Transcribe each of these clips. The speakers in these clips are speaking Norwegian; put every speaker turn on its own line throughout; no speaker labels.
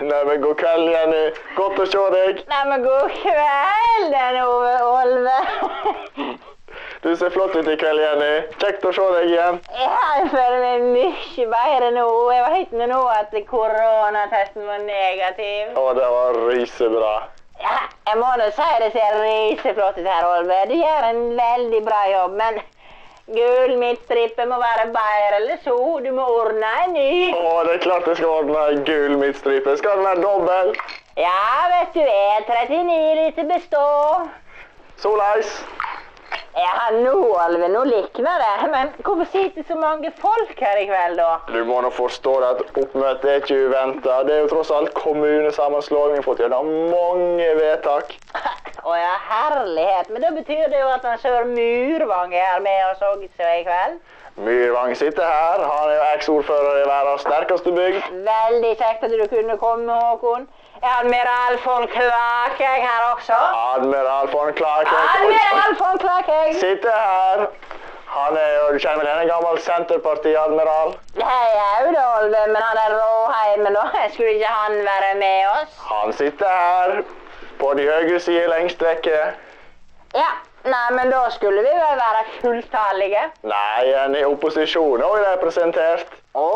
Nei, men god kveld, Jenny. Godt å se deg.
Nei, men god kveld, den Ove Olve.
Du ser flott ut i kveld, Jenny. Kjekt å se deg igjen.
Jeg føler meg mye bedre nå. Jeg var høyt med nå at koronatesten var negativ.
Å, det var risebra.
Ja, jeg må nå si det ser riseflott ut her, Olve. Du gjør en veldig bra jobb, men gul midtstripe må være bedre eller så. Du må ordne en ny.
Å, det er klart jeg skal ordne ei gul midtstripe. Skal den være dobbel?
Ja, vet du, E39 lite bestå.
Soleis.
Ja, nå, Olve, nå likner det. Men hvorfor sitter så mange folk her i kveld, da?
Du må nå forstå det at oppmøtet er ikke uventa. Det er jo tross alt kommunesammenslåing. Vi har fått gjennom mange vedtak.
Å ja, herlighet. Men da betyr det jo at han Sør Murvang er her med oss også i kveld.
Myrvang sitter her. Han er jo eksordfører i verdens sterkeste bygd.
Veldig kjekt at du kunne komme, Håkon. Er Admiral von Klakegg her også?
Admiral von Clark
Admiral von Klakegg!
sitter her. Han er jo, Du kjenner denne gammel Senterparti-admiral?
Hei, au da, Olve, men han er råheimen, da. Skulle ikke han være med oss?
Han sitter her. På de høyre side lengst vekke.
Ja. Nei, men da skulle vi vel være fulltallige.
Nei, en i opposisjon òg representert.
Å.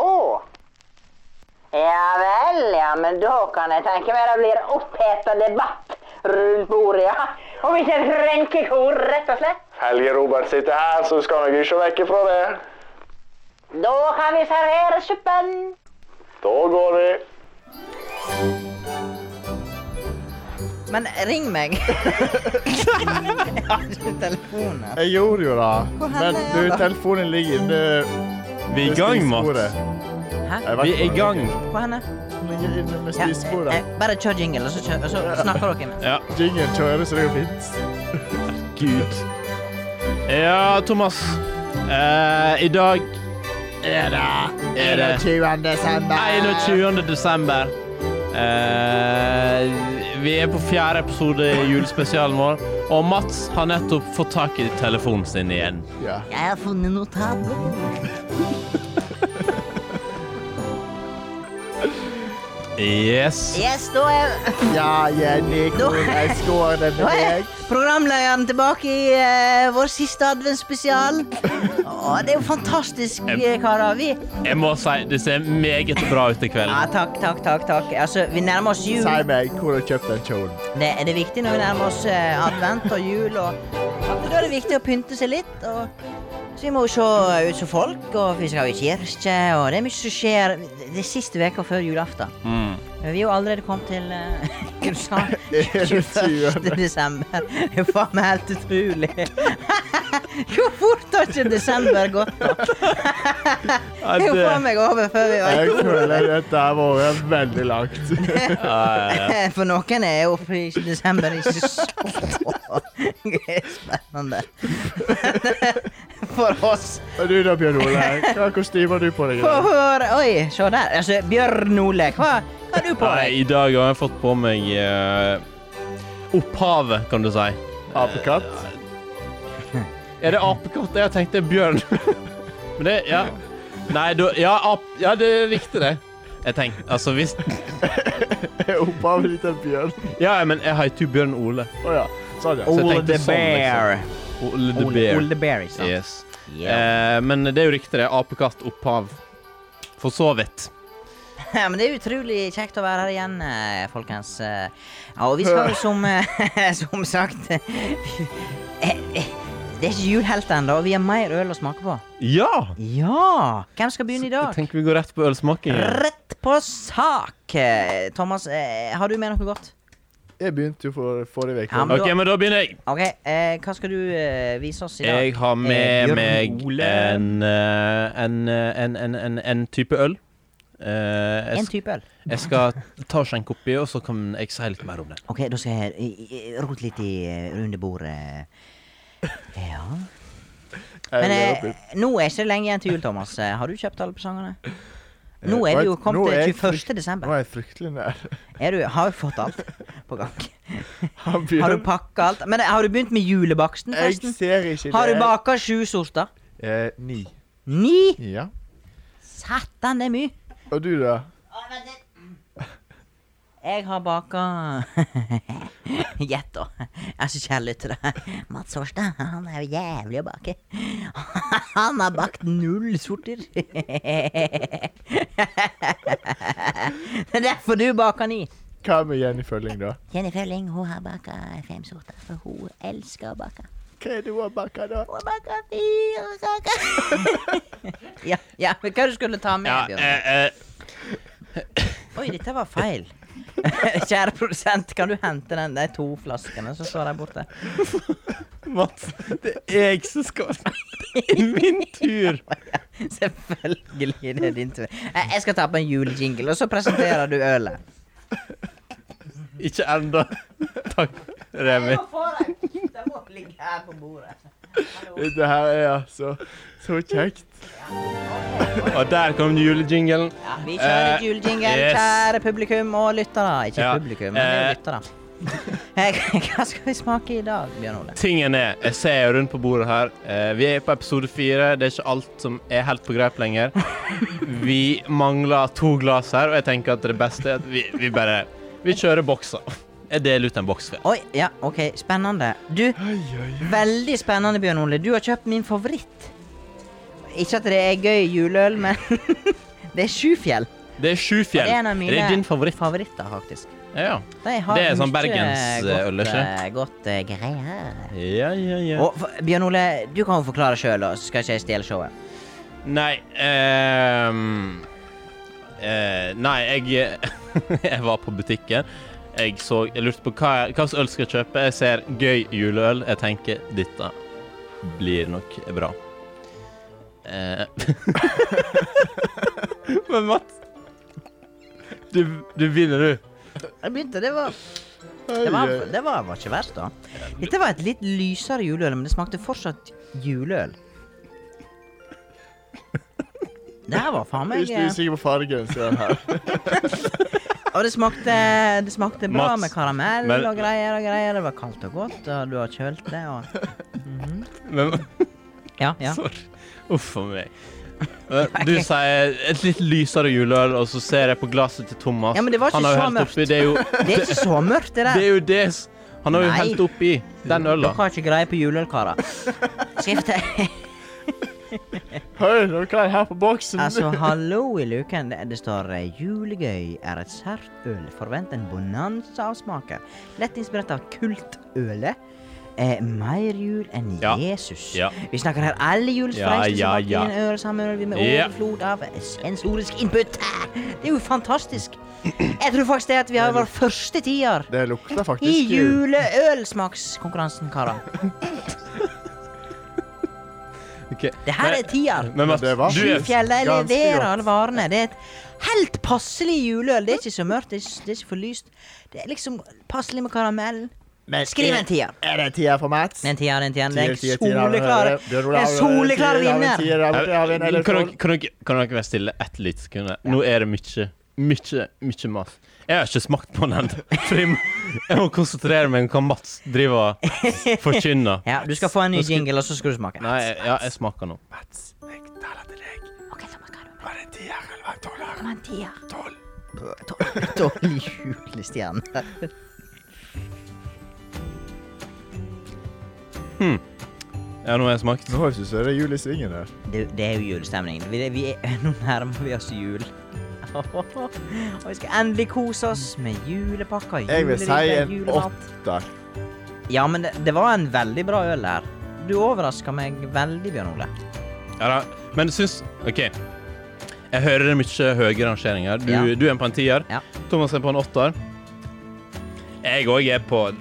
Ja vel, ja, men da kan jeg tenke meg det blir oppheta debatt rundt bordet, ja. Om ikke et renkekor, rett og slett.
Helge Robert sitter her, så du skal nok ikke vekke fra det.
Da kan vi servere suppen.
Da går vi.
Men ring meg. jeg har ikke telefonen.
Jeg gjorde jo det. Men
hender jeg
du,
da?
telefonen ligger inne
Vi er i
ved
gang, Mats.
spisebordet.
Hæ?
Jeg vet
Vi er
ikke
i
hva
gang.
Hvor er henne?
Den ligger inne ved
Ja, eh,
spisebordet.
eh, bare kjør jingle, og så, kjør, og så snakker dere imens.
Ja,
Jingle kjører, så det går fint.
gud. Ja, Thomas. Eh, I dag er det Er det
20. desember.
21. desember. Eh, vi er på fjerde episode i julespesialen vår, og Mats har nettopp fått tak i telefonen sin igjen.
Ja.
Jeg har funnet notatblokken.
Yes.
Yes, da er,
ja, Jenny, hvor er skårene
da
med
er
deg?
programlederen tilbake i eh, vår siste adventsspesial. Å, det er jo fantastisk, eh, karer. Vi
Jeg må si det ser meget bra ut i kveld.
Ja, takk, takk, takk. takk. Altså, vi nærmer oss jul.
Si meg hvor du har kjøpt den kjolen.
Det er det viktig når vi nærmer oss eh, advent og jul. Og, at da er det viktig å pynte seg litt. Og, så vi må jo se ut som folk, og vi skal jo i kirke, og det er mye som skjer. Det er siste veka før julaften.
Mm.
Vi er jo allerede kommet til eh, USA
Det er det
21. desember. Det er jo faen meg helt utrolig. Hvor fort har ikke desember gått? da? Det er jo faen meg over før vi var
Jeg føler dette her må være veldig langt.
Eh, For noen er jo i desember ikke så spennende. Men for oss
Og du da, Bjørn Ole, hva kostyme har du på deg? i dag?
for, Oi, se der. Altså, Bjørn Ole, hva hva har du på
Nei,
deg?
I dag har jeg fått på meg eh, opphavet, kan du si. Eh,
Apekatt?
Er det apekatt? Jeg tenkte bjørn. Men det Ja. Nei, da Ja, ap, ja det er riktig, det. Jeg tenkte Altså, hvis
Er Opphavet ditt en bjørn?
Ja, men jeg heter jo Bjørn Ole.
Å ja.
Så
Sånn, liksom. ja.
jeg tenkte sånn, Ole the
Ole,
Bear.
Ole the Bear, ikke sant?
Yes. Eh, men det er jo riktig, det. Apekatt, opphav. For så vidt.
Ja, men det er utrolig kjekt å være her igjen, eh, folkens. Eh, Ja, og vi skal jo som, eh, som sagt eh, eh, Det er ikke jul helt ennå, og vi har mer øl å smake på.
Ja!
Ja! Hvem skal begynne i
Jeg
dag?
tenker vi går rett på ølsmaking.
Rett på sak! Eh, Thomas, eh, har du med noe godt?
Jeg begynte jo for forrige uke.
Ja, men
OK, men da begynner jeg.
OK, eh, hva skal du eh, vise oss i dag?
Jeg har
Eh,
med
Bjørn
meg
Ole.
en, eh, en, eh, en, en, en, en type øl. Eh, jeg,
En
sk-
type øl.
jeg skal ta og skjenke oppi, og så kan jeg si litt mer om den.
OK, da skal jeg eh, rote litt i eh, runde bordet. Ja
Jeg
Men
gleder
eh,
meg.
nå er ikke det lenge igjen til jul, Thomas. Eh, Har du kjøpt alle presangene? Nå
Eh,
er det jo
vet- nå
kommet
er
til
jeg
21.
Nå
desember.
er jeg fryktelig nær.
Er du, har du fått alt på gang?
Han
Har
begynner-
du pakka alt? Men eh, har du begynt med julebaksten,
Jeg
forresten?
ser ikke
Har
det.
du baka sju sorter?
Eh, ni.
Ni?
Ja.
Satan, det er mye.
Og du, da?
Jeg har baka Gjett, da. Jeg er så kjærlig til det. Mats Hårstad, han er jo jævlig å bake. Han har bakt null sorter. Det er derfor du baker ni.
Hva med Jenny Følling, da?
Jenny Følling hun har baka fem sorter, for hun elsker å bake.
Hva er det hun har bakka, da?
Hun har baka fire kaker. ja, ja, men hva du skulle ta med,
Ja,
Bjørn?
eh, eh,
Oi, dette var feil. Kjære produsent, kan du hente den, de to flaskene som står der borte?
Mats, det er jeg som skal Det er min tur.
Selvfølgelig, det er din tur. Eh, Jeg skal ta på en julejingle, og så presenterer du ølet.
Ikke ennå. Takk, Remi.
Det må ligge her på bordet.
Dette her er altså så kjekt.
Og der kom julejinglen.
Ja, vi kjører
Eh,
julejingle,
yes.
kjære publikum og lyttere. Ikke
Ja,
publikum, men det er
eh.
jo lyttere. Eh, Hva skal vi smake i dag, Bjørn Ole?
Tingen er, jeg ser rundt på bordet her. eh, vi er på episode fire. Det er ikke alt som er helt på greip lenger. Vi mangler to glass her, og jeg tenker at det beste er at vi, vi bare Vi kjører bokser. Jeg deler ut en boks. for-
Oi, ja, OK, spennende. Du,
Oi, oi, oi.
Veldig spennende, Bjørn Ole. Du har kjøpt min favoritt. Ikke at det er gøy juleøl, men det er Sjufjell.
Det er
Og
Sjufjell.
det er en av mine
Det er din favoritt.
favoritter, faktisk.
Ja,
De har
Det er sånn
mye
bergensøl,
godt,
ikke?
eh, Godt eh, greier.
ja, ja. ja.
Og for, Bjørn Ole, du kan jo forklare sjøl, så skal ikke jeg stjele showet.
Nei ehm, eh, Nei, jeg Jeg var på butikken. Jeg så Jeg lurte på hva, hva slags øl skal jeg kjøpe. Jeg ser gøy juleøl. Jeg tenker dette blir nok bra. Eh. Men Mats Du, du begynner, du.
Jeg begynte, det var,
oi,
det, var,
oi.
det var, var ikke verst, da. Dette var et litt lysere juleøl, men det smakte fortsatt juleøl. Det her var faen meg eh,
Hvis du er usikker på fargen, så er den her.
Og det smakte, det smakte bra
Mats,
med karamell
men-
og greier og greier. Det var kaldt og godt, og du har kjølt det og
Men
Ja, ja.
Sorry. Uff a meg. Men Du sier et litt lysere juleøl, og så ser jeg på glasset til Thomas.
Ja, men det var ikke
Han har jo
så
helt
mørkt.
oppi- Det er jo
Det er ikke så mørkt, det der.
Det er jo det s- Han har jo
Nei.
helt oppi den øla.
Dere har ikke greie på juleøl, karer. Skal jeg fortelle
Hei, nå er jeg her på boksen.
Altså, hallo i luken. Det, det står eh, 'Julegøy er et sært øl. Forvent en bonanza av smaker'. Lett inspirert av kultølet. Eh, mer jul enn
Ja.
Jesus.
Ja,
Vi snakker her alle julens
Ja,
freiste
ja,
som
ja.
bakker inn øl sammen øl med
Ja.
overflod av sensorisk input. Det er jo fantastisk. Jeg tror faktisk det at vi har vår første tier
Det lukter
i
faktisk jul.
juleølsmakskonkurransen, karer.
ok.
Det her er tier.
Men Mats,
det var
du er
fint.
Fjellene
Ganske
leverer
godt.
alle varene. Det er et helt passelig juleøl. Det er ikke så mørkt, det er ikke, det er ikke for lyst. Det er liksom passelig med karamell.
Men
Skriv
er-
en tier.
Er det en tier for Mats?
Det er en tier, det er en tier. Det
Tier,
er
tier,
en
tier, har vi-
soleklar
Bjørn
det er
Olav,
en soleklar
tier, har vi en
vinner.
tier, har vi en tier, har vi en
kan,
eller
dere-
tolv?
kan, dere- kan dere være stille ett lite sekund? her? Nå er det mye, mye, mye mat. Jeg har ikke smakt på den ennå. for Jeg må- jeg må konsentrere meg om hva Mats driver og forkynner.
Ja, du skal få en ny
Nå skal-
jingle, og så skal du smake.
Nei, ja, jeg smaker nå.
Mats, jeg taler til deg.
Ok, Thomas, hva har du med?
Var det en tier eller var det en tolver?
Hva er en tier?
Tolv.
Dårlig julestjerne.
Ja, nå har jeg smakt.
Nå syns jeg det er jul i svingen her.
Det, det er jo julestemning. Vi, det- vi er, nå nærmer vi oss jul. Og vi skal endelig kose oss med julepakker,
Jeg vil si
juleribber,
en
julemat.
åtter.
Ja, men det, det var en veldig bra øl her. Du overraska meg veldig, Bjørn Ole.
Ja, da. Men syns OK. Jeg hører det er mye høye rangeringer. Du,
Ja.
du er på en tier.
Ja.
Thomas er på en åtter. Jeg òg er på Nei,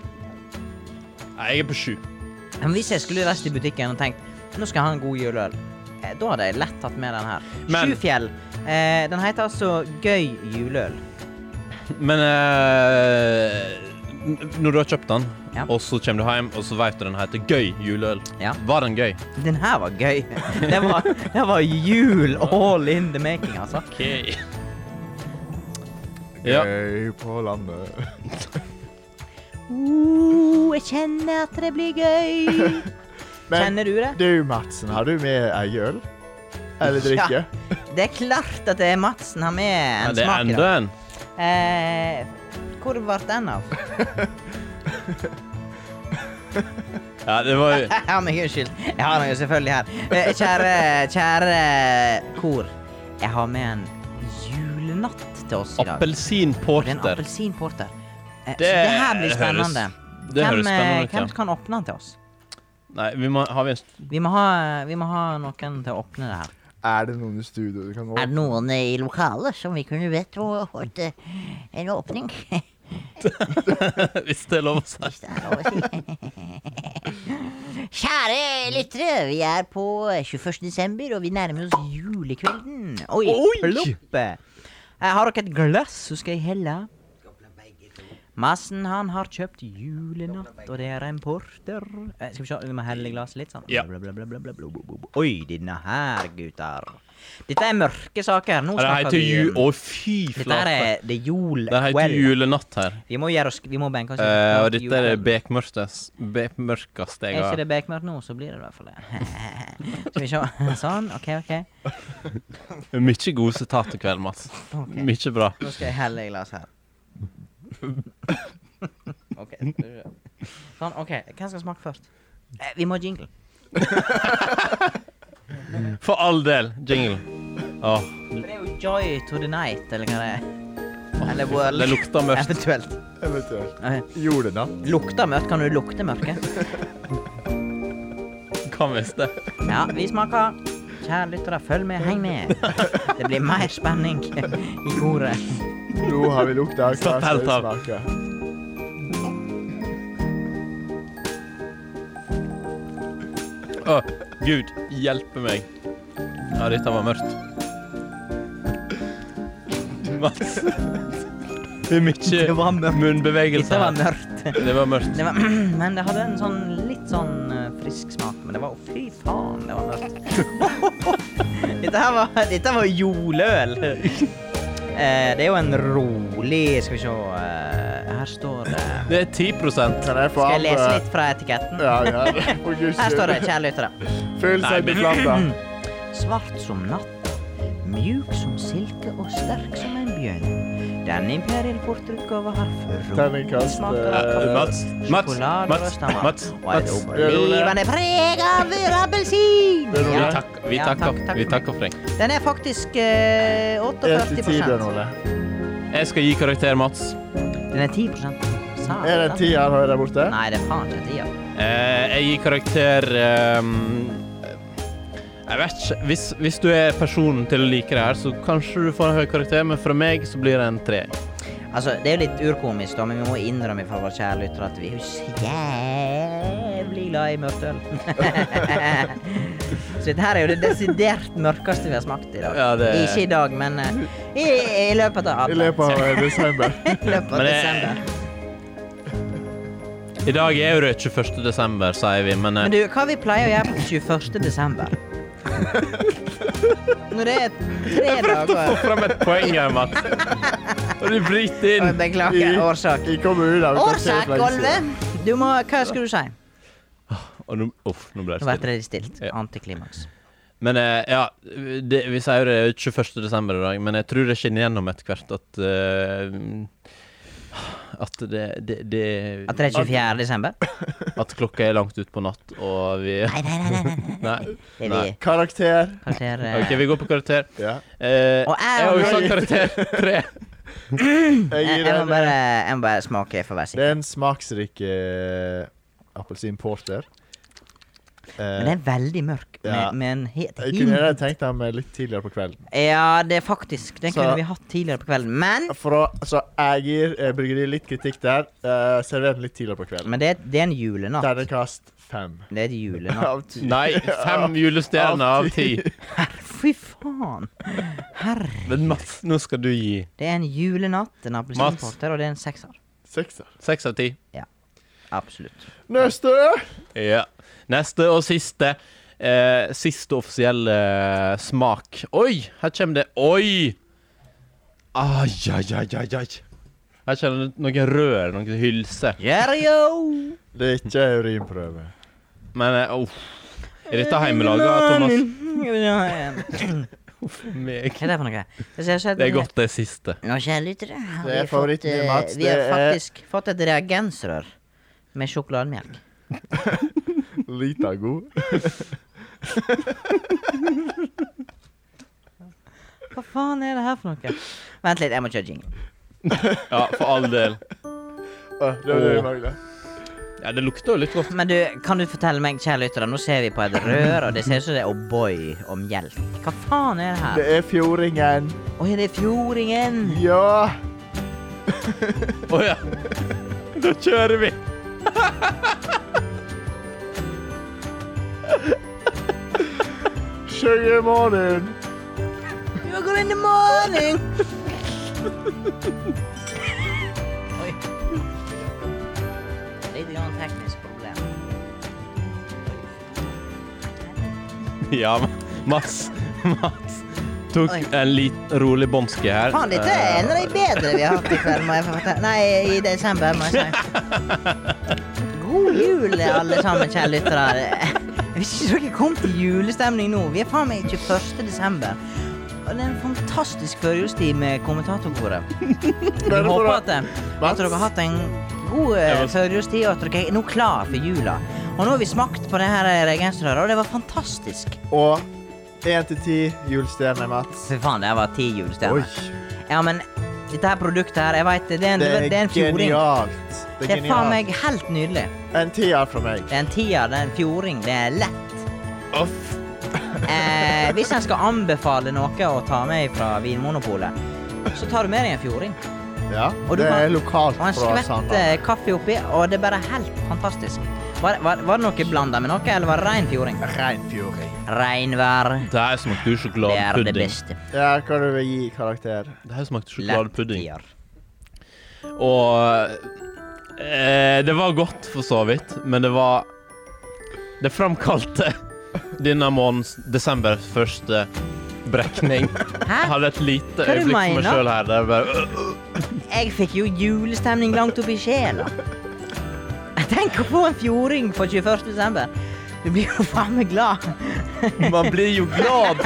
jeg er på sju.
Men hvis jeg skulle reist i butikken og tenkt nå skal jeg ha en god juleøl, eh, da hadde jeg lett tatt med den her.
Men-
Sjufjell. Eh, den heter altså Gøy juleøl.
Men eh, n- når du har kjøpt den,
Ja.
og så kommer du hjem, og så vet du den heter Gøy juleøl.
Ja.
Var den gøy?
Den her var gøy. Det var, det var jul all in the making, altså. Ja.
Gøy Eh, på landet.
Uh, jeg kjenner at det blir gøy.
Men
Kjenner du det?
du, Madsen, har du med ei øl? Eller drikke?
Ja. Det er klart at det er Madsen har med
Ja,
en
det er
smak i
enda
dag.
en.
Eh, Hvor ble den av?
Ja, det var jo
Ja, men unnskyld. Jeg har den jo selvfølgelig her. Eh, Kjære, kjære kor. Jeg har med en julenatt til oss i dag. Det er en
appelsinporter.
appelsinporter. Eh, så det her blir spennende.
Høres, det
hvem,
høres
eh,
spennende
hvem
ut. ja.
kan åpne den til oss?
Nei, vi må, har vi en st-
Vi må, ha, vi må ha noen til å åpne det her.
Er det noen i studio du kan
Er det
åpne?
noen i lokalet som vi kunne vite og fått eh, en åpning?
Hvis det er lov å si.
Hvis det er lov å si. Kjære lyttere, vi er på 21. desember, og vi nærmer oss julekvelden. Oi, ploppe! Jeg har dere et glass, så skal jeg helle. Massen han har kjøpt julenatt, og det er en porter. Eh, Skal vi se, vi må helle glasset litt sånn.
Ja.
Bla, bla, bla, bla, bla, bla, bla, bla. Oi, denne her, gutter. Dette er mørke saker. Nå
Det
snakker
heter
vi
ju...
um,
Å, fy
Dette her
flate.
er det er
Det heter
julekveld.
julenatt her.
Vi må gjøre oss Vi må benke oss. inn.
Eh, og
Ja,
dette er det
julekveld.
bekmørkes- bekmørkeste jeg
Er ikke
har.
det bekmørkt nå, så blir det i hvert fall det. Skal vi se. Sånn. OK, OK.
Mye gode sitater i kveld, Mats.
Ok.
Mye bra.
Nå skal jeg helle i glass her. OK. skal vi se. Sånn. OK. Hvem skal smake først? Eh, vi må ha jingle.
For all del. Jingle. Åh,
For det er jo Joy to the Night, eller hva det er. Eller
det
World.
lukter mørkt.
Eventuelt.
Eventuelt.
Ok.
Julenatt.
Lukter mørkt. Kan du lukte mørket?
Kan visst det.
Ja, vi smaker. Kjære lyttere, følg med, heng med. Det blir mer spenning i koret.
Nå har vi lukta. Hva
Slapp
skal
helt
vi
av.
smake?
Å, Gud hjelpe meg. Ja, dette var mørkt. Mats. Det er
Det var
mye
mørkt.
munnbevegelser.
Dette var
her.
mørkt.
Det var mørkt.
Det var, men det hadde en sånn litt sånn eh, frisk smak. Men det var fy faen, det var mørkt. Dette her var, dette var juleøl. Eh, det er jo en rolig Skal vi se. eh, her står det
Det er 10
Kan jeg få
Skal jeg
av,
lese
eh,
litt fra etiketten?
Ja, ja. Å, gud,
Her står det, kjære lyttere.
Føl
Nei,
seg
men-
beplanta.
Svart som natta, mjuk som silke og sterk som en bjørn. Den Imperial Portutgave har
Terningkast, eh,
Mats, Mats,
Sjokolade og
Mats,
stammer.
Mats.
Og er
Mats.
det
Det er rolig.
Livene preg av appelsin!
Det er rolig.
Vi
Ja.
takker, vi
Ja,
takker,
takk, takk
vi
for
takker for deg.
Den er faktisk eh,
1 til 10,
48
Bjørn Ole.
Jeg skal gi karakter, Mats.
Den er 10 Sa jeg
Er det en tier her der borte?
Nei, det er faen ikke 10. ja.
Eh, jeg gir karakter ehm, Jeg vet ikke. Hvis, hvis du er personen til å like det her, så kanskje du får en høy karakter, men fra meg så blir det en tre.
Altså, det er jo litt urkomisk, da, men vi må innrømme for våre kjære lyttere at vi er jo så jævlig glad i mørkt øl. så dette her er jo det desidert mørkeste vi har smakt i dag.
Ja, det-
Ikke i dag, men eh, i, i løpet av
I løpet av eh, desember.
I løpet av
Men det-
desember.
I dag er jo det 21. desember, sier vi, men, eh,
Men du, hva vi pleier å gjøre på 21. desember? Når det er tre
Få
dager
fram et poeng her, Mats. Og du bryter
Oi,
inn.
Beklager, årsak.
I kommunen.
Årsak, Olve! Du må Hva skulle du si?
Og nå, uff, nå ble
Nå
det
ble
stille.
det stilt.
Ja.
Antiklimaks.
Men eh, ja, det, vi sier jo det er 21. desember i dag, men jeg tror det skinner gjennom etter hvert at eh, At det, det, det
At det er 24. desember?
At klokka er langt ut på natt, og vi
Nei, nei, nei. nei, nei.
Nei.
Det er vi.
Nei.
Karakter.
Karakter eh,
OK, vi går på karakter.
Ja.
Eh,
Og
jeg har jo
jeg,
sagt karakter tre.
Jeg
jeg,
gir
jeg, må
en,
bare, jeg må bare smake for å være
det
sikker.
er en smaksrik eh,
Men
appelsinporter.
den
Eh,
er veldig mørk,
Ja.
med, med en helt
jeg kunne
hint
gjerne tenkt dem litt tidligere på kvelden.
Ja, det er faktisk. Den
Så-
kunne vi hatt tidligere på kvelden. Men,
For å, altså, jeg gir eh, bryggeriet litt kritikk der. Eh, Server den litt tidligere på kvelden.
men det, er- det er en julenatt.
Terningkast fem.
Det er et julenatt.
Av ti.
Nei, fem julestjerner av ti.
Fy faen! Herre.
Men Mats, nå skal du gi
Det er en julenatt, en appelsinporter, og det er en sekser.
Sekser.
seks av ti.
Absolutt.
Neste!
Ja. Neste og siste. Eh, siste offisielle eh, smak. Oi, her kommer det Oi! Ai, ai, ai, ai, ai. Her kommer det noe rør, noe hylse.
Jerjo!
Det er ikke urinprøve.
Men eh, uff. Er dette heimelaga, Thomas?
Ja, ja.
Meg.
Hva er det for noe? Det ser seg-
Det er godt det siste.
Nå, kjære lyttere, har
Det er
vi fått,
favoritten min,
eh,
Mats.
vi har
Det er-
faktisk fått et reagensrør med sjokolademelk.
Lita god.
Hva faen er det her for noe? Vent litt, jeg må kjøre jingle.
Ja, for all del.
Å, det var det vi manglet.
Ja, det lukter jo litt godt.
Men du, kan du fortelle meg, kjære lyttere, nå ser vi på et rør, og det ser ut som det er O'boy og melk. Hva faen er det her?
Det er fjordingen.
Oi, det er fjordingen.
Ja!
Å ja. Da kjører vi.
Sjøy i morgen.
You are going in the morning. Oi. Litt grann teknisk problem.
Ja, men Mats. Mats tok
Oi.
en liten rolig bånske her. Eh,
Faen, dette er en av de bedre vi har hatt i kveld, må jeg få fortelle. Nei, i desember, må jeg si. God jul, alle sammen, kjære lyttere. Hvis ikke dere kom til julestemning nå Vi er faen meg 21. desember. Og det er en fantastisk førjulstid med kommentatorkoret. Vi
Bare for
håper
å-
at, eh, at dere har hatt en god eh,
Jeg var-
førjulstid, og at dere er nå klar for jula. Og nå har vi smakt på det her reagensrøret, og det var fantastisk.
Og én til ti julestjerner, Mats.
Fy faen, det her var ti
Oi.
julestjerner. Ja, men dette her produktet her, jeg vet, det, det, er en-
Det
det er
er
en fjording.
genialt. Det
Det
er
er faen
genialt.
meg helt nydelig.
En tier fra meg.
Det er en tier, det er en fjording, det er lett.
Off.
Eh, hvis en skal anbefale noe å ta med fra Vinmonopolet, så tar du med deg en fjording.
Ja,
Og du
det
kan-
er lokalt
Og en
fra
skvett
Sandal.
eh, kaffe oppi, og det er bare helt fantastisk. Var, var, var det noe blanda med noe, eller var det rein fjording?
Rein fjording.
Reinvær.
Det her
Det
smakte jo
er det
sjokoladepudding.
beste.
Ja, hva du vil gi karakter?
Det her smakte
Lett
sjokoladepudding.
tier.
Og eh, Det var godt, for så vidt, men det var Det framkalte denne månedens desembers første brekning. Jeg
Hæ?
hadde et lite
Hva du
øyeblikk for meg
mener?
sjøl her. Der jeg bare, øh,
Jeg fikk jo julestemning langt opp i sjela. Tenk å få en fjording for 21. desember. Du blir jo faen meg glad.
man blir jo glad!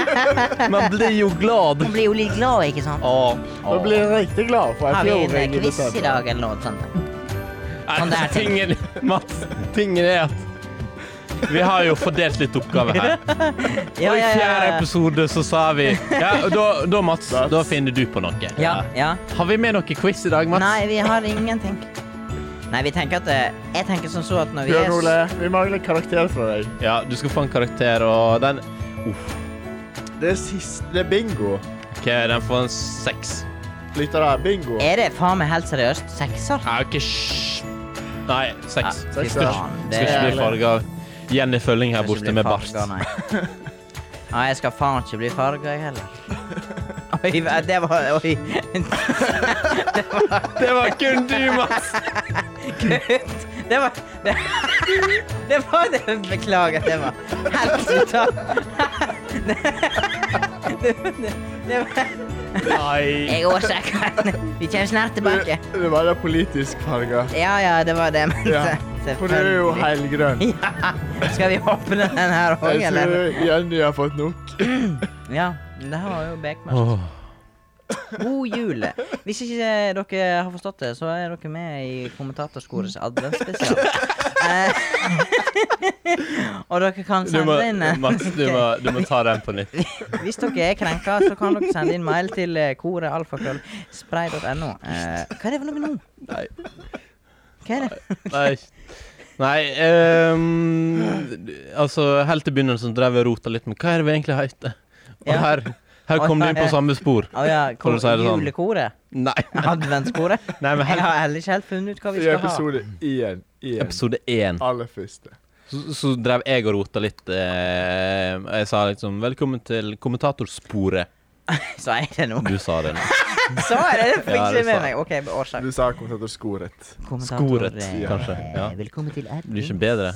Man blir jo glad.
Man blir jo litt glad, ikke sant?
Å,
Nå
å.
blir jeg riktig glad for en
Har vi en eh,
fjording. i
quiz i
desember.
dag eller noe sånt? sånn
Nei,
der ting.
tingen, Mats, tingen er at vi har jo fordelt litt oppgaver her.
Ja,
Og i
ja, ja,
fjerde
ja.
episode så sa vi ja, og da, da, Mats,
Mats.
da finner du på noe.
Ja, ja.
Har vi med noe quiz i dag, Mats?
Nei, vi har ingenting. Nei, vi tenker at eh, Jeg tenker som så at når vi
Bjørn
er
Ole, vi mangler karakter fra deg.
Ja, du skal få en karakter, og den Uff.
Det er siste det er bingo.
OK, den får en seks.
Lyttere, bingo.
Er det faen meg helt seriøst sekser?
Nei, OK, hysj. Nei, seks.
Ja,
Seks,
fy
ja.
faen,
Skal ikke
er-
bli farga av Jenny Følling her borte med bart.
Nei. Ja, jeg skal faen ikke bli farga, jeg heller. Oi, det var Oi.
Det var kun du, Mats!
Kutt! Det var Det, det var det. Beklager, det var helt totalt det, det, det var
Nei.
Jeg er årsaken. Vi kommer snart tilbake.
Du- Det var da politisk farga.
Ja, ja, det var det jeg mente.
Ja. For du er jo
Selvfølgelig.
helgrønn.
Ja. Skal vi åpne den her òg,
Jeg
eller?
tror Jenny har fått nok.
Ja. Det her var jo Bekmark.
Åh.
God jul. Hvis ikke eh, dere har forstått det, så er dere med i kommentatorkorets adventsspesial. Eh, og dere kan
Du må,
sende inn eh,
Mats, du må, du må ta den på nytt.
Hvis dere er krenka, så kan dere sende inn mail til eh, koret alfakrøllspray.no. Eh, hva er det for noe nå?
Nei.
Hva er det?
Nei. Nei ehm, Altså, helt til begynnelsen drev jeg og rota litt med hva er det vi egentlig heter. Og
Ja.
her, her kom du inn på samme spor.
Å ja,
Kan du si det sånn?
julekoret?
Nei.
Adventskoret?
Nei, men
Jeg
helt
har heller ikke helt funnet ut hva vi
I
skal ha.
episode én. Én.
episode én.
Aller første.
Så, så drev jeg og rota litt. Eh, og jeg sa liksom 'Velkommen til kommentatorsporet'.
Sa jeg det nå?
Du sa det. nå.
Sa jeg det? Det fikk
Ja,
ikke
det
med
sa
meg. OK, årsak.
Du sa kommentatorskoret.
Kommentator,
Skoret,
eh,
kanskje. Ja.
Velkommen til Edvin.
Det blir ikke bedre.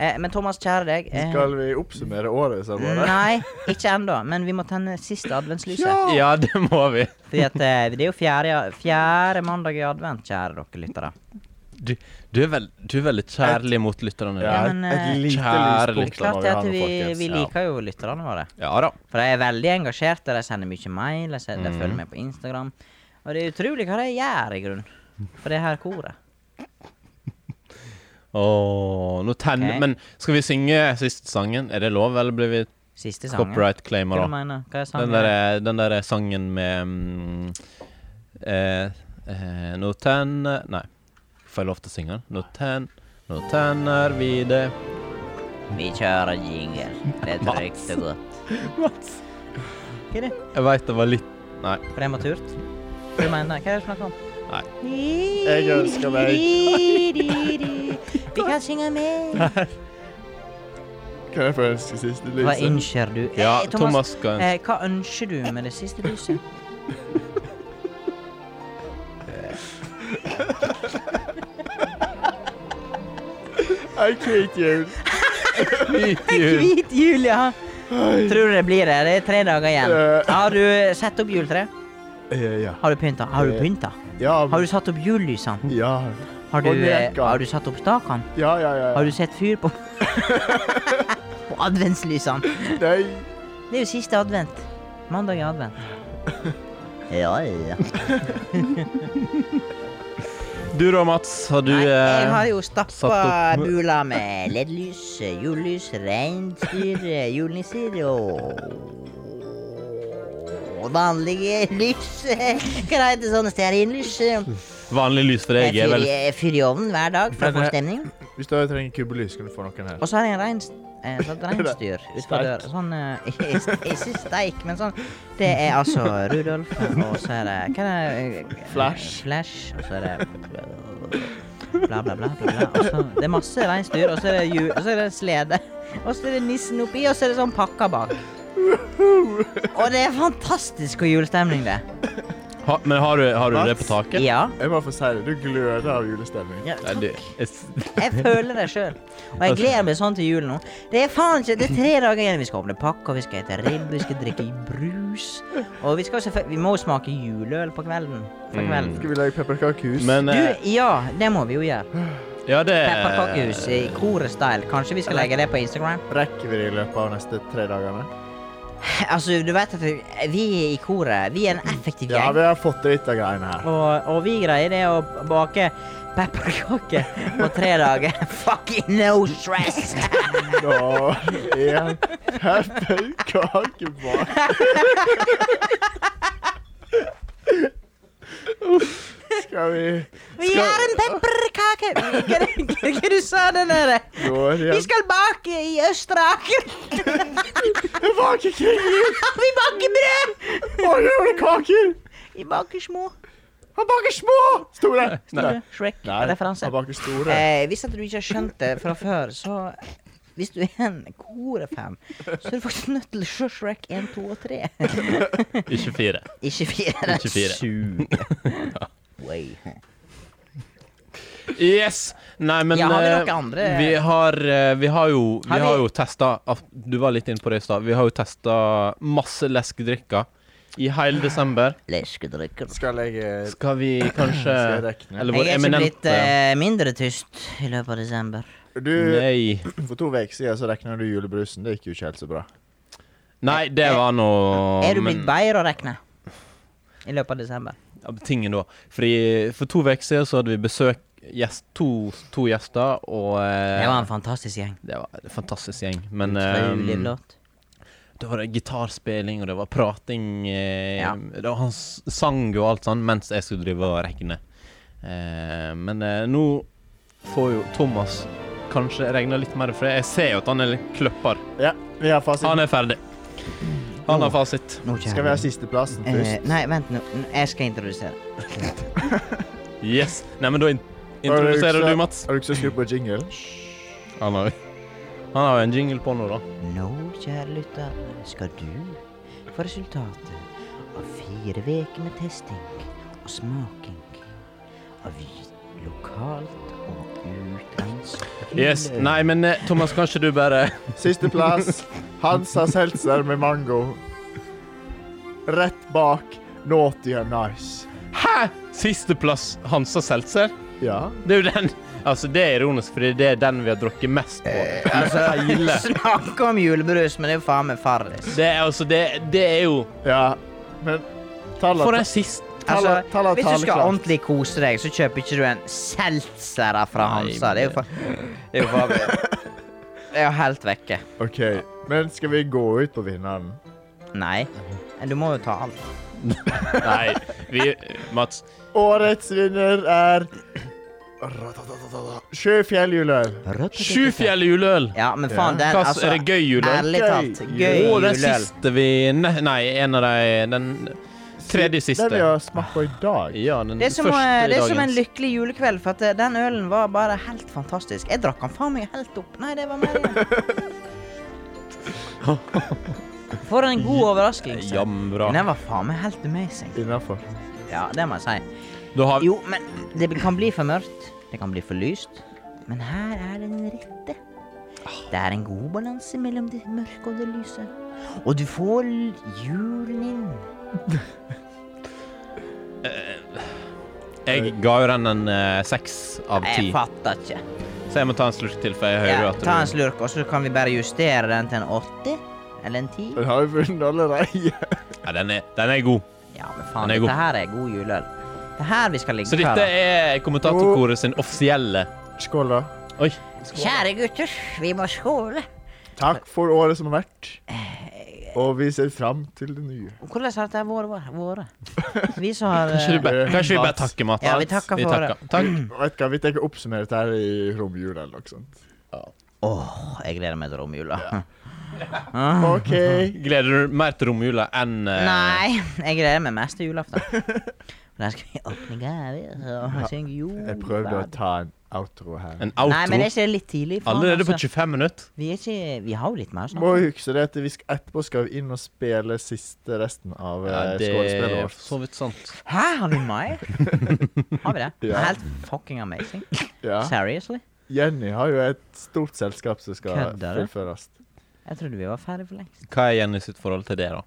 Eh, men Thomas, kjære deg eh,
Skal vi oppsummere året som var der?
Nei, ikke ennå. Men vi må tenne siste adventslyset.
Ja.
Ja, det må vi.
Fordi at eh, det er jo fjerde, fjerde mandag i advent, kjære dere lyttere.
du, du, er vel, du er veldig kjærlig mot lytterne.
Ja,
dine.
men,
et
eh,
lite
kjære
Det er
lyspunkt.
lytter.
da
klart
må
det
ha
at
noe,
vi,
folkens.
vi
Ja.
liker jo lytterne våre.
ja da.
For de er veldig engasjerte, de sender mye mail, de, sender,
Mm.
de følger med på Instagram. Og det er utrolig hva de gjør, i grunnen. For det her koret.
Åh, nå tenner
Ok.
Men skal vi synge siste sangen? Er det lov, eller blir vi
Siste sangen.
copyright
Hva
claimer,
du
da?
mener Hva er sangen?
Den derre den der sangen med mm, eh, eh, Nå tenner Nei. Får jeg lov til å synge den? Nå ten- Nå tenner vi det
Vi kjører jingle. Det er trygt og godt.
Mats.
Hva er det?
Jeg veit det var litt Nei.
Prematurt? Hva du mener Hva er det du snakker om?
Nei.
Jeg ønsker
meg Vi kan synge med.
Kan jeg få ønske siste
Hva
lyset?
ønsker du?
Ja,
Eh,
Thomas skal
eh, hva ønsker du med det siste lyset?
I hate you.
Hvit jul.
Hvit jul, ja. Tror du det blir det? Det er tre dager igjen.
Eh.
Har du satt opp juletreet?
Eh, Ja.
Har du pynta? Har du
Eh.
pynta?
Ja,
Har du satt opp julelysene?
ja.
Har du,
Og
eh,
leker.
har du satt opp stakene?
Ja, ja, ja.
Har du sett fyr på På adventslysene?
Nei.
Det er jo siste advent. Mandag er advent. Ja, ja.
Du da, Mats. Har du
Nei, jeg
eh,
har jo stappa
satt opp-
bula med LED-lys, julelys, reinsdyr, julenisser og Vanlige lys. Hva heter sånne stearinlys?
Vanlig lys for deg er
Jeg
vel
fyr, jeg fyrer i ovnen hver dag for å
Men,
få
eh,
stemning.
Hvis du trenger kubbelys, kan du få noen her.
Og så har jeg en reins, eh, sånn reinsdyr utenfor
Steik.
døra. Sånn eh, Ikke steik, men sånn. Det er altså Rudolf, og så er det Hva er det? eh,
Flash.
Flash, og så er det Bla, bla, bla. bla, bla. Og så, det er masse reinsdyr, og så er det hjul, og så er det en slede. Og så er det nissen oppi, og så er det sånn pakker bak. Og det er fantastisk god julestemning, det.
ha, Men har du, har du det
Mats?
på taket?
Ja.
Jeg må få si det, du gløder av julestemning.
ja
Nei,
takk.
du, jeg, s-
Jeg føler det sjøl. Og jeg gleder meg sånn til jul nå. Det er faen ikke Det er tre dager igjen. Vi skal åpne pakker, vi skal ete ribbe, vi skal drikke brus. Og vi skal selvfølgelig Vi må jo smake juleøl på kvelden. På
Mm.
kvelden.
Skal vi lage pepperkakehus?
men
Du,
eh,
ja, det må vi jo gjøre.
Ja, det
Pepperkakehus i koret-style. Kanskje vi skal legge det på Instagram?
Rekker vi det i løpet av neste tre dagene?
Altså, du vet at vi i koret, vi er en effektiv
Ja,
gjeng.
vi har fått til dette greiene her.
Og, og vi greier det å bake pepperkaker på tre dager. Fucking no stress!
Når en pepperkakebak Skal vi
Vi har en pepperkake! Hva er det du sa den der?
gå
Vi
hjem?
skal bake i Østre Aker!
Jeg baker kringer!
Vi baker brød!
Og julekaker!
Vi baker små.
Han baker små! Store! Store.
Shrek-referanse.
Han baker store.
Eh, hvis at du ikke har skjønt det fra før, så Hvis du er en korefan, så er du faktisk nødt til å se Shrek 1, 2 og 3.
Ikke fire.
Ikke 4.
Ikke fire.
Way.
Yes! Nei, men
Ja, har vi
eh,
noen andre?
Vi har, eh, vi har jo Vi
Har
har,
vi-
jo testa ah, Du var litt inne på det i stad. Vi har jo testa masse leskedrikker i hele desember.
Leskedrikker.
Skal jeg eh,
Skal vi kanskje
Skal jeg rekne?
Eller
Jeg
vår
er ikke blitt
eminente
eh, mindre tyst i løpet av desember.
Du,
Nei.
for to uker siden så regna du julebrusen. Det gikk jo ikke helt så bra.
Nei, det var nå
Eh, Er du
men-
blitt bedre å regne i løpet av desember?
av tingen da. Fordi for to uker siden så hadde vi besøk gjest, to, to gjester, og eh,
Det var en fantastisk gjeng.
det var en fantastisk gjeng. Men
Utrolig
eh,
flott.
det var gitarspilling, og det var prating eh,
Ja.
Det var Han s- sang og alt sånn mens jeg skulle drive og regne. Eh, men eh, nå får jo Thomas kanskje regna litt mer, for jeg ser jo at han er litt kløpper.
Ja, vi har
Han
fasit.
er ferdig. Han har fasit.
Nå
Skal vi ha sisteplassen
Eh,
først?
nei, vent nå. N- Jeg skal introdusere.
Yes. Nei, men da in
Har du ikke
introduserer
så-
du Mats.
Har du ikke så skrudd på jingle?
Han har, han har jo en jingle på nå, da.
Nå, kjære lytter, skal du få resultatet av fire uker med testing og smaking av j- lokalt og utenlandsk
Yes. Nei, men eh, Thomas, kan ikke du bare
Sisteplass. Hansas Seltzer med mango. Rett bak Naughty and Nice.
Hæ?! Sisteplass Hansa Seltzer?
Ja.
Det er jo den Altså, det er ironisk, fordi det er den vi har drukket mest på.
Eh, altså,
Hele.
Snakk om julebrus, men det er jo faen meg farris.
Det er altså Det, det er jo
ja. Men
For
tallene
den siste
Talla- talla
Altså, hvis du skal
talekraft.
ordentlig kose deg, så kjøper ikke du en seltzer fra
Nei,
Hansa. Det er jo
men-
fa- Det er jo fa- Det er jo helt vekke.
OK. Men skal vi gå ut på vinneren?
Nei. Men du må jo ta alt.
Nei, vi Mats.
Årets vinner er Sjøfjell juleøl.
Sjufjell juleøl.
Ja, men faen, den
Hva s-
altså
er det gøy juleøl?
Ærlig talt.
Gøy
Gøy
Å, den
juleøl.
siste vi ne- Nei, en av de Den tredje siste.
Den vi har smakt på i dag.
Ja, den
Det er, som, å-
første
det er som en
dagens.
lykkelig julekveld, for at eh, den ølen var bare helt fantastisk. Jeg drakk den faen meg helt opp. Nei, det var mer igjen. For en god overraskelse.
Jambra.
Men den var faen meg helt amazing.
Innafor.
Ja, det må jeg si.
Da har vi
Jo, men det kan bli for mørkt. Det kan bli for lyst. Men her er den rette. Det er en god balanse mellom det mørke og det lyse. Og du får l- julen inn.
Jeg ga jo den en eh, seks av ti,
Jeg fatter ikke.
så jeg må ta en slurk til, for jeg hører
Ja,
jo at
ta en slurk, og så kan vi bare justere den til en 80. Eller en 10.
Den har jo vunnet allerede.
Ja, den er, den er god.
Ja, men faen,
Den er god.
dette her er god juleøl. Det er her vi skal ligge
Så dette
Kara.
er kommentatorkoret sin offisielle
Skål, da.
Oi.
Kjære gutter, vi må skåle.
Takk for året som har vært. Og vi ser fram til det nye.
Hvordan har dette vært vår- våre? Vi som har
Kanskje, vi
eh,
bare- kanskje vi bare
Mats.
takker Mats?
Ja, vi takker for
takker. Takk.
Vet du hva, Vi tenker å oppsummere dette her i romjula eller noe sånt.
Åh, jeg gleder meg til romjula.
OK.
Gleder du mer til romjula enn eh,
Nei, jeg gleder meg mest til julaften. For Der skal vi åpne gaver og synge jul.
Jeg prøvde å ta en outro her.
en
Nei, men er
outro?
ikke det litt tidlig? faen,
Allerede på
altså?
25 minutter?
Vi, er ikke, vi har jo litt mer å snakke
Må huske det at vi skal, etterpå skal vi inn og spille siste resten av ja,
det
skuespillet
er for
vårt.
så vidt sant.
Hæ, har vi mer? Har vi det?
Ja.
Helt fucking amazing.
Ja.
Seriously?
Jenny har jo et stort selskap som skal
Kødder du?
fullføres.
Jeg trodde vi var ferdig for lengst.
Hva er Jenny sitt forhold til det, da?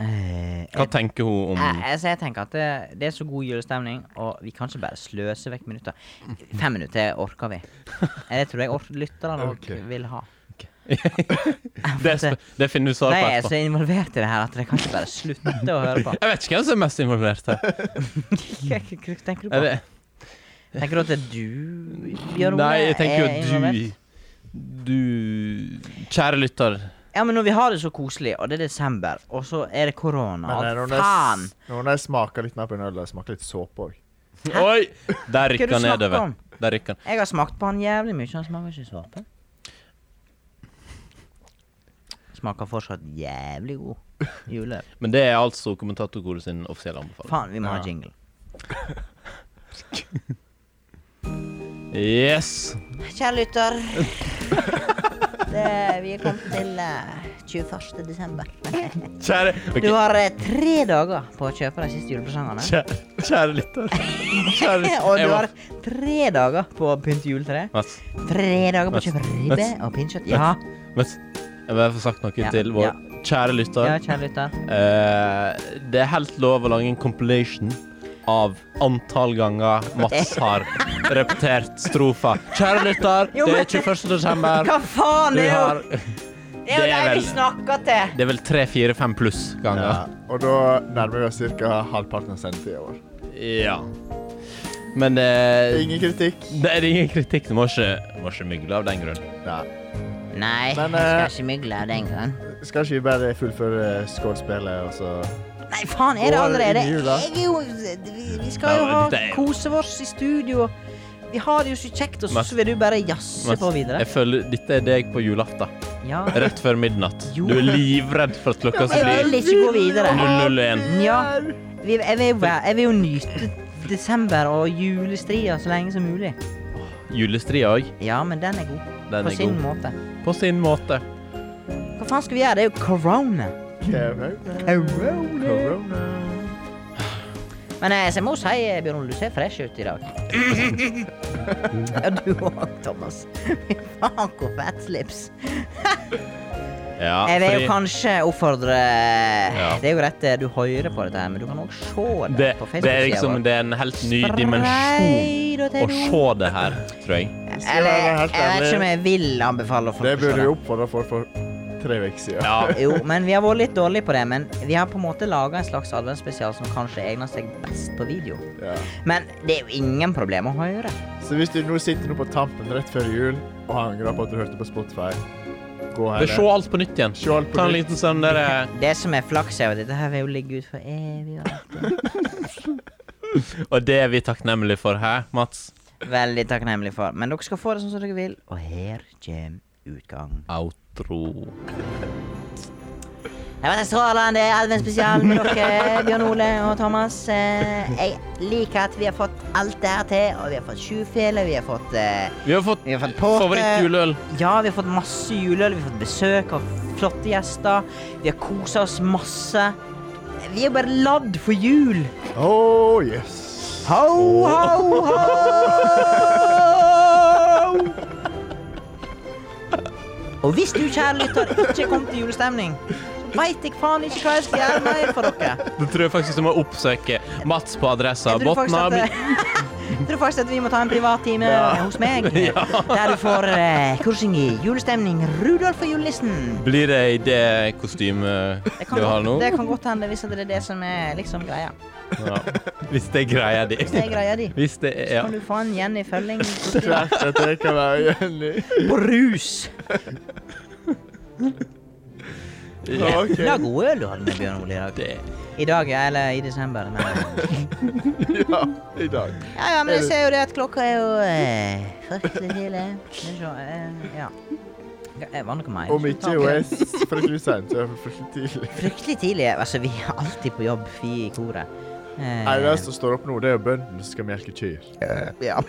Eh,
Hva
jeg,
tenker hun om
jeg, altså, jeg tenker at det, det er så god julestemning, og vi kan ikke bare sløse vekk minutter. Fem minutter orker vi. Eh, Det tror jeg or lytterne nok
Ok.
vil ha. eh,
Det, sp- det finner du svar
Nei,
på
jeg er
etterpå.
så involvert i det her at jeg kan ikke bare slutte å høre på.
Jeg vet ikke hvem som er mest involvert her.
Hva tenker du
Er
på?
det-
Tenker du at det er du, Bjørn Ole,
Nei, jeg tenker jo
er involvert?
at du Du Kjære lytter.
Ja, men når vi har det så koselig, og det er desember, og så er det korona
Men eh,
og
når
faen!
jeg- når jeg smaker litt mer på en øl, jeg smaker litt såpe òg.
Oi! Der
Hva er
rykker
det
han
du snakker
nedover.
om?
Der rykker han.
Jeg har smakt på han jævlig mye, han smaker ikke såpe. Smaker fortsatt jævlig god juleøl.
Men det er altså kommentatorkoret sin offisielle anbefaling.
Faen, vi må ha
Ja.
jingle.
Yes.
Kjære lytter. Det, vi er kommet til eh, 21. desember.
Kjære ok.
Du har eh, tre dager på å kjøpe de siste julepresangene.
Kjære, kjære lytter. Kjære lytter.
Og du
Jeg må-
har tre dager på å pynte juletreet.
Mats,
Tre dager på å kjøpe ribbe
Mats.
og pinnekjøtt. Ja.
Mats, jeg må få sagt noe
Ja,
til vår
ja.
kjære lytter.
ja, kjære lytter.
Eh, det er helt lov å lage en compilation av antall ganger Mats har repetert strofa. Kjære lytter,
Jo,
det er
men-
21. desember.
Hva faen
Du
er
har
det? Det er jo
er
de vi
vel-
snakker til.
Det er vel tre, fire, fem pluss
Ja.
ganger.
Og da nærmer vi oss ca. halvparten av sendetida vår.
Ja. Men eh,
Ingen kritikk.
det er ingen kritikk. Du må ikke, må ikke mygle av den grunn.
Ja.
Nei,
Men,
jeg
eh,
skal ikke mygle av den gang.
Skal ikke vi bare fullføre skålspillet, og så
Nei, faen, er det
Går
allerede?
inn i jula.
Jeg er jo Vi, vi skal jo
Ja,
ha
det er jo-
koset vårs i studio. Vi har det jo så kjekt, og så
Mats.
så vil du bare jazze
Mats,
på videre.
jeg føler dette er deg på julaften.
Ja.
Rett før midnatt.
Jo.
Du er livredd for at klokka
Jeg
skal
vil
bli
ikke gå videre.
001.
Ja. Vi, jeg, vil, jo være- jeg vil jo nyte desember og julestria så lenge som mulig.
Julestria òg.
Ja, men den er god.
Den
på
er
sin
god.
måte.
På sin måte.
Hva faen skal vi gjøre? Det er jo corona.
Corona.
Men eh, så jeg må si, eh, Bjørn Ole, du ser fresh ut i dag. ja, du òg, Thomas. Fy faen, hvor fett slips.
Ja,
Jeg vil jo
fordi-
kanskje oppfordre
Ja.
Det er jo rett eh, du hører på dette, her, men du kan òg se det, på
det, det er
Facebook-sida
liksom
vår.
det er en helt ny dimensjon å se det her, tror jeg.
Skal jeg
Eller,
være
jeg
helt
vet ikke om
ærlig,
jeg vil anbefale folk
det
å se
burde vi oppfordre folk for tre uker siden.
Ja.
Jo, men vi har vært litt dårlige på det. Men vi har på en måte laga en slags adventsspesial som kanskje egner seg best på video.
Ja.
Men det er jo ingen problem å høre.
Så hvis du nå sitter nå på tampen rett før jul og angrer på at du hørte på Spotify, gå her.
Se alt på nytt igjen.
Se alt på
Ta en
nytt.
liten sånn der eh,
Det som er flaks, er jo at dette her vil jo ligge ut for evig. og alltid.
Og det er vi takknemlige for, hæ, Mats?
Veldig takknemlig for. Men dere skal få det sånn som dere vil. Og her kommer utgangen.
Outro.
Det var strålende adventsspesial med dere, Bjørn Ole og Thomas. Eh, Jeg liker at vi har fått alt det her til, og vi har fått sjufele, vi har fått eh,
Vi har fått,
Vi har fått påske.
favorittjuleøl.
Ja, vi har fått masse juleøl, vi har fått besøk av flotte gjester. Vi har kosa oss masse. Vi er bare ladd for jul.
Oh, yes.
Ho, ho, ho! Og hvis du, kjære lytter, ikke kom til julestemning, så veit jeg faen ikke hva jeg skal gjøre mer for dere.
Da tror jeg faktisk du må oppsøke Mats på adressa.
Jeg tror faktisk
Botna
at, jeg tror faktisk at vi må ta en privattime hos meg, der du får eh, kursing i julestemning. Rudolf og julenissen.
Blir det i det kostymet
Det kan,
du har nå?
godt, det kan godt hende hvis at det er det som er liksom greia.
Ja. Hvis det er greia di.
Det er greia di.
Hvis det er ja.
Kan du få en Jenny Følling
Tvert at jeg kan være enig.
på rus?
Ok.
Det var god øl du hadde med Bjørn Ole i dag.
Det.
I dag, ja, eller i desember. Men...
Ja, i dag.
Ja, ja, men jeg ser jo det at klokka er jo eh, fryktelig tidlig. Skal vi se, eh, ja. Eh, Var det noe mer?
Om ikke hun er s- fryktelig sent, så er hun fryktelig tidlig.
Fryktelig tidlig. Altså, vi er alltid på jobb, vi i koret. Eh,
Eneste som står opp nå, det er bøndene som skal melke kyr.
Ja.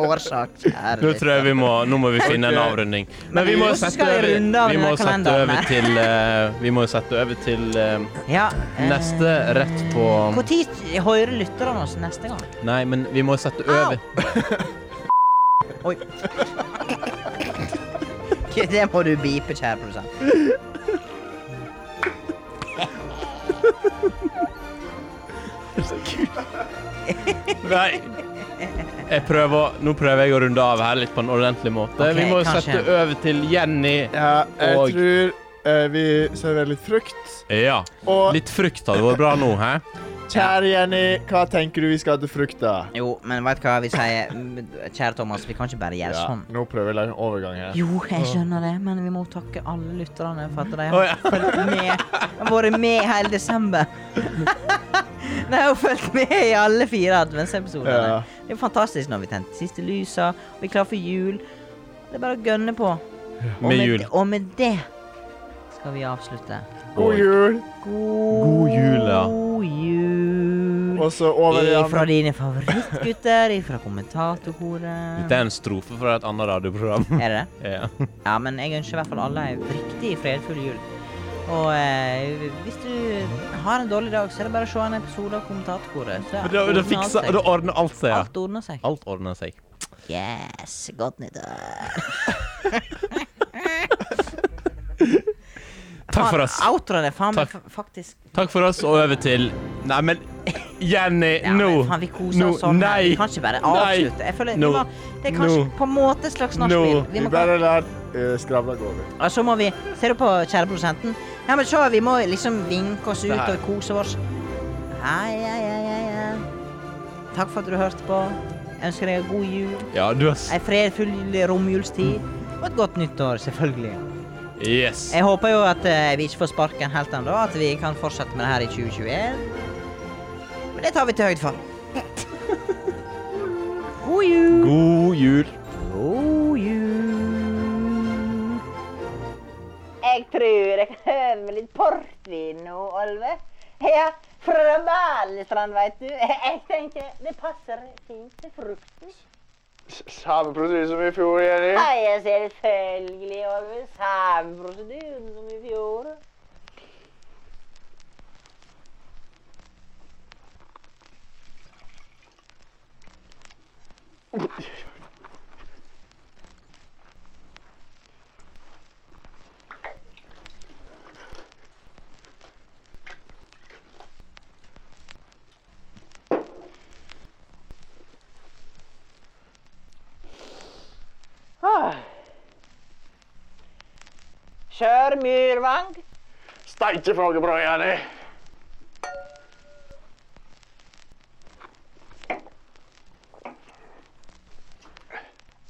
Årsak, kjære
Nå tror jeg vi må, nå må vi finne en
Ok.
avrunding.
Men
Men vi må
vi
sette
skal i
over,
runde av
vi
denne
må sette
kalenderen
over
her.
til eh, Vi må sette over til eh,
Ja. eh,
neste rett på
Hvor tid hører lytterne oss neste gang?
Nei, men vi må sette
Au!
over.
Oi. Det må du bipe, kjære produsent.
Nei. Jeg prøver, nå prøver jeg å runde av her litt på en ordentlig måte.
Ok,
vi må
kanskje.
sette over til Jenny.
Ja, jeg
Og-
tror eh, vi serverer litt frukt.
Ja.
Og
Litt frukt hadde vært bra nå, hæ?
kjære Jenny, hva tenker du vi skal ha til frukt, da?
Jo, men vet du hva vi sier? Mm, Kjære Thomas, vi kan ikke bare gjøre
Ja,
sånn.
nå prøver jeg å lage en overgang her.
Jo, jeg skjønner det, men vi må takke alle lytterne for at de
Å,
har
ja.
fulgt med. Har vært med hele desember. De har jo fulgt med i alle fire adventsepisodene.
Ja.
Det er jo fantastisk når vi tente siste lysa, og vi er klare for jul. Det er bare å gønne på. Og
Med jul.
Og med det skal vi avslutte.
God jul,
God,
God jul, ja.
God jul.
og så over i
Fra
andre.
dine favorittgutter, fra kommentatorkoret.
Dette er en strofe fra et annet radioprogram.
Er det det?
Ja.
Ja, men jeg ønsker i hvert fall alle ei riktig fredfull jul. Og eh, hvis du har en dårlig dag, så er det bare å se en episode av Kommentatorkoret. Så
Da, da,
ordner
fikser,
alt seg.
da ordner alt seg. Ja.
Alt ordner seg.
Alt ordner seg.
Yes, godt nyttår.
Takk for oss.
Faen, Outroen er faen meg
Takk.
fa- faktisk
Takk for oss, og over til Nei, men Jenny,
Ja,
nå!
men faen, vi koser
Nå.
oss sånn. her.
Nei!
Vi kan ikke bare
Nei.
avslutte. Jeg føler,
Nå.
vi må, det er kanskje
Nå.
på en måte et slags
Nå.
nachspiel. Vi
Vi
må
bare lar eh, skravla gå over.
Og så må vi Ser du på kjære produsenten? Ja, men se, vi må liksom vinke oss ut
Det her.
og kose oss. Hei, hei, hei, hei, hei. Takk for at du hørte på. Jeg ønsker deg en god jul,
Ja, du har s-
ei fredfull romjulstid og et godt nyttår, selvfølgelig.
Yes.
Jeg håper jo at eh, vi ikke får sparken helt ennå, at vi kan fortsette med det her i 2021. Men det tar vi til høyde for. God jul!
God jul.
God jul!
Jeg tror jeg kan høve meg litt portvin nå, Olve. Ja, fra Balestrand, veit du. Jeg tenker det passer fint til frukten.
Samme prosedyre som i fjor, Jenny.
Hei, jeg ser selvfølgelig, Olve. Samme prosedyren som i fjor. Sør Myrvang.
Steike for noe bra, Jenny.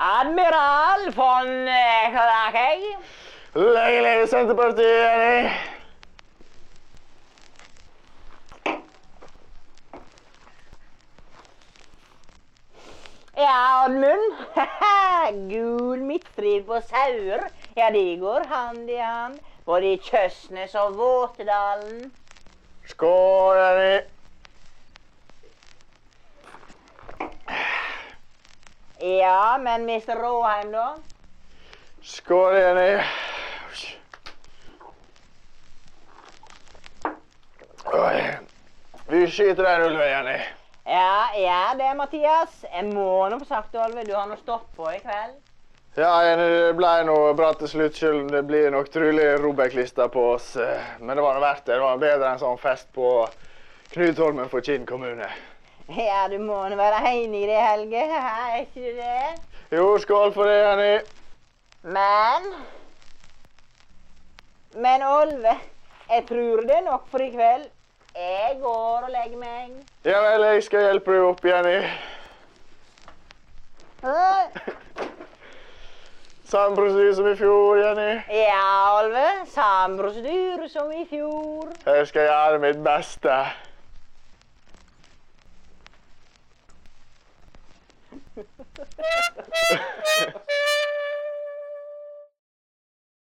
Admiral von eh, Krakau.
Lenge leve Senterpartiet, Jenny.
Ja, Oddmund. Gul midtstrid på sauer. Ja, de går hand i hand. Både i Kjøsnes og Våtedalen.
Skål, Jenny.
Ja, men Mr. Råheim, da?
Skål, Jenny. Oi. Vi skyter den ulven, Jenny.
Ja, ja det, Mathias. Jeg må nå få sagt, Olve, du har nå stått på i kveld.
Ja, Jenny, det ble noe bra til slutt. Selv om det blir nok trolig Robek-lista på oss. eh, Men det var nå verdt det. Det var bedre enn sånn fest på Knutholmen for Kinn kommune.
Ja, du må nå være enig i det, Helge. Er ikke du det?
Jo, skål for det, Jenny.
Men Men Olve, jeg tror det er nok for i kveld. Jeg går og legger meg.
Ja vel, jeg skal hjelpe deg opp, Jenny.
Åh.
Samme prosedyre som i fjor, Jenny.
Ja, Olve. Samme prosedyre som i fjor.
Jeg skal gjøre mitt beste.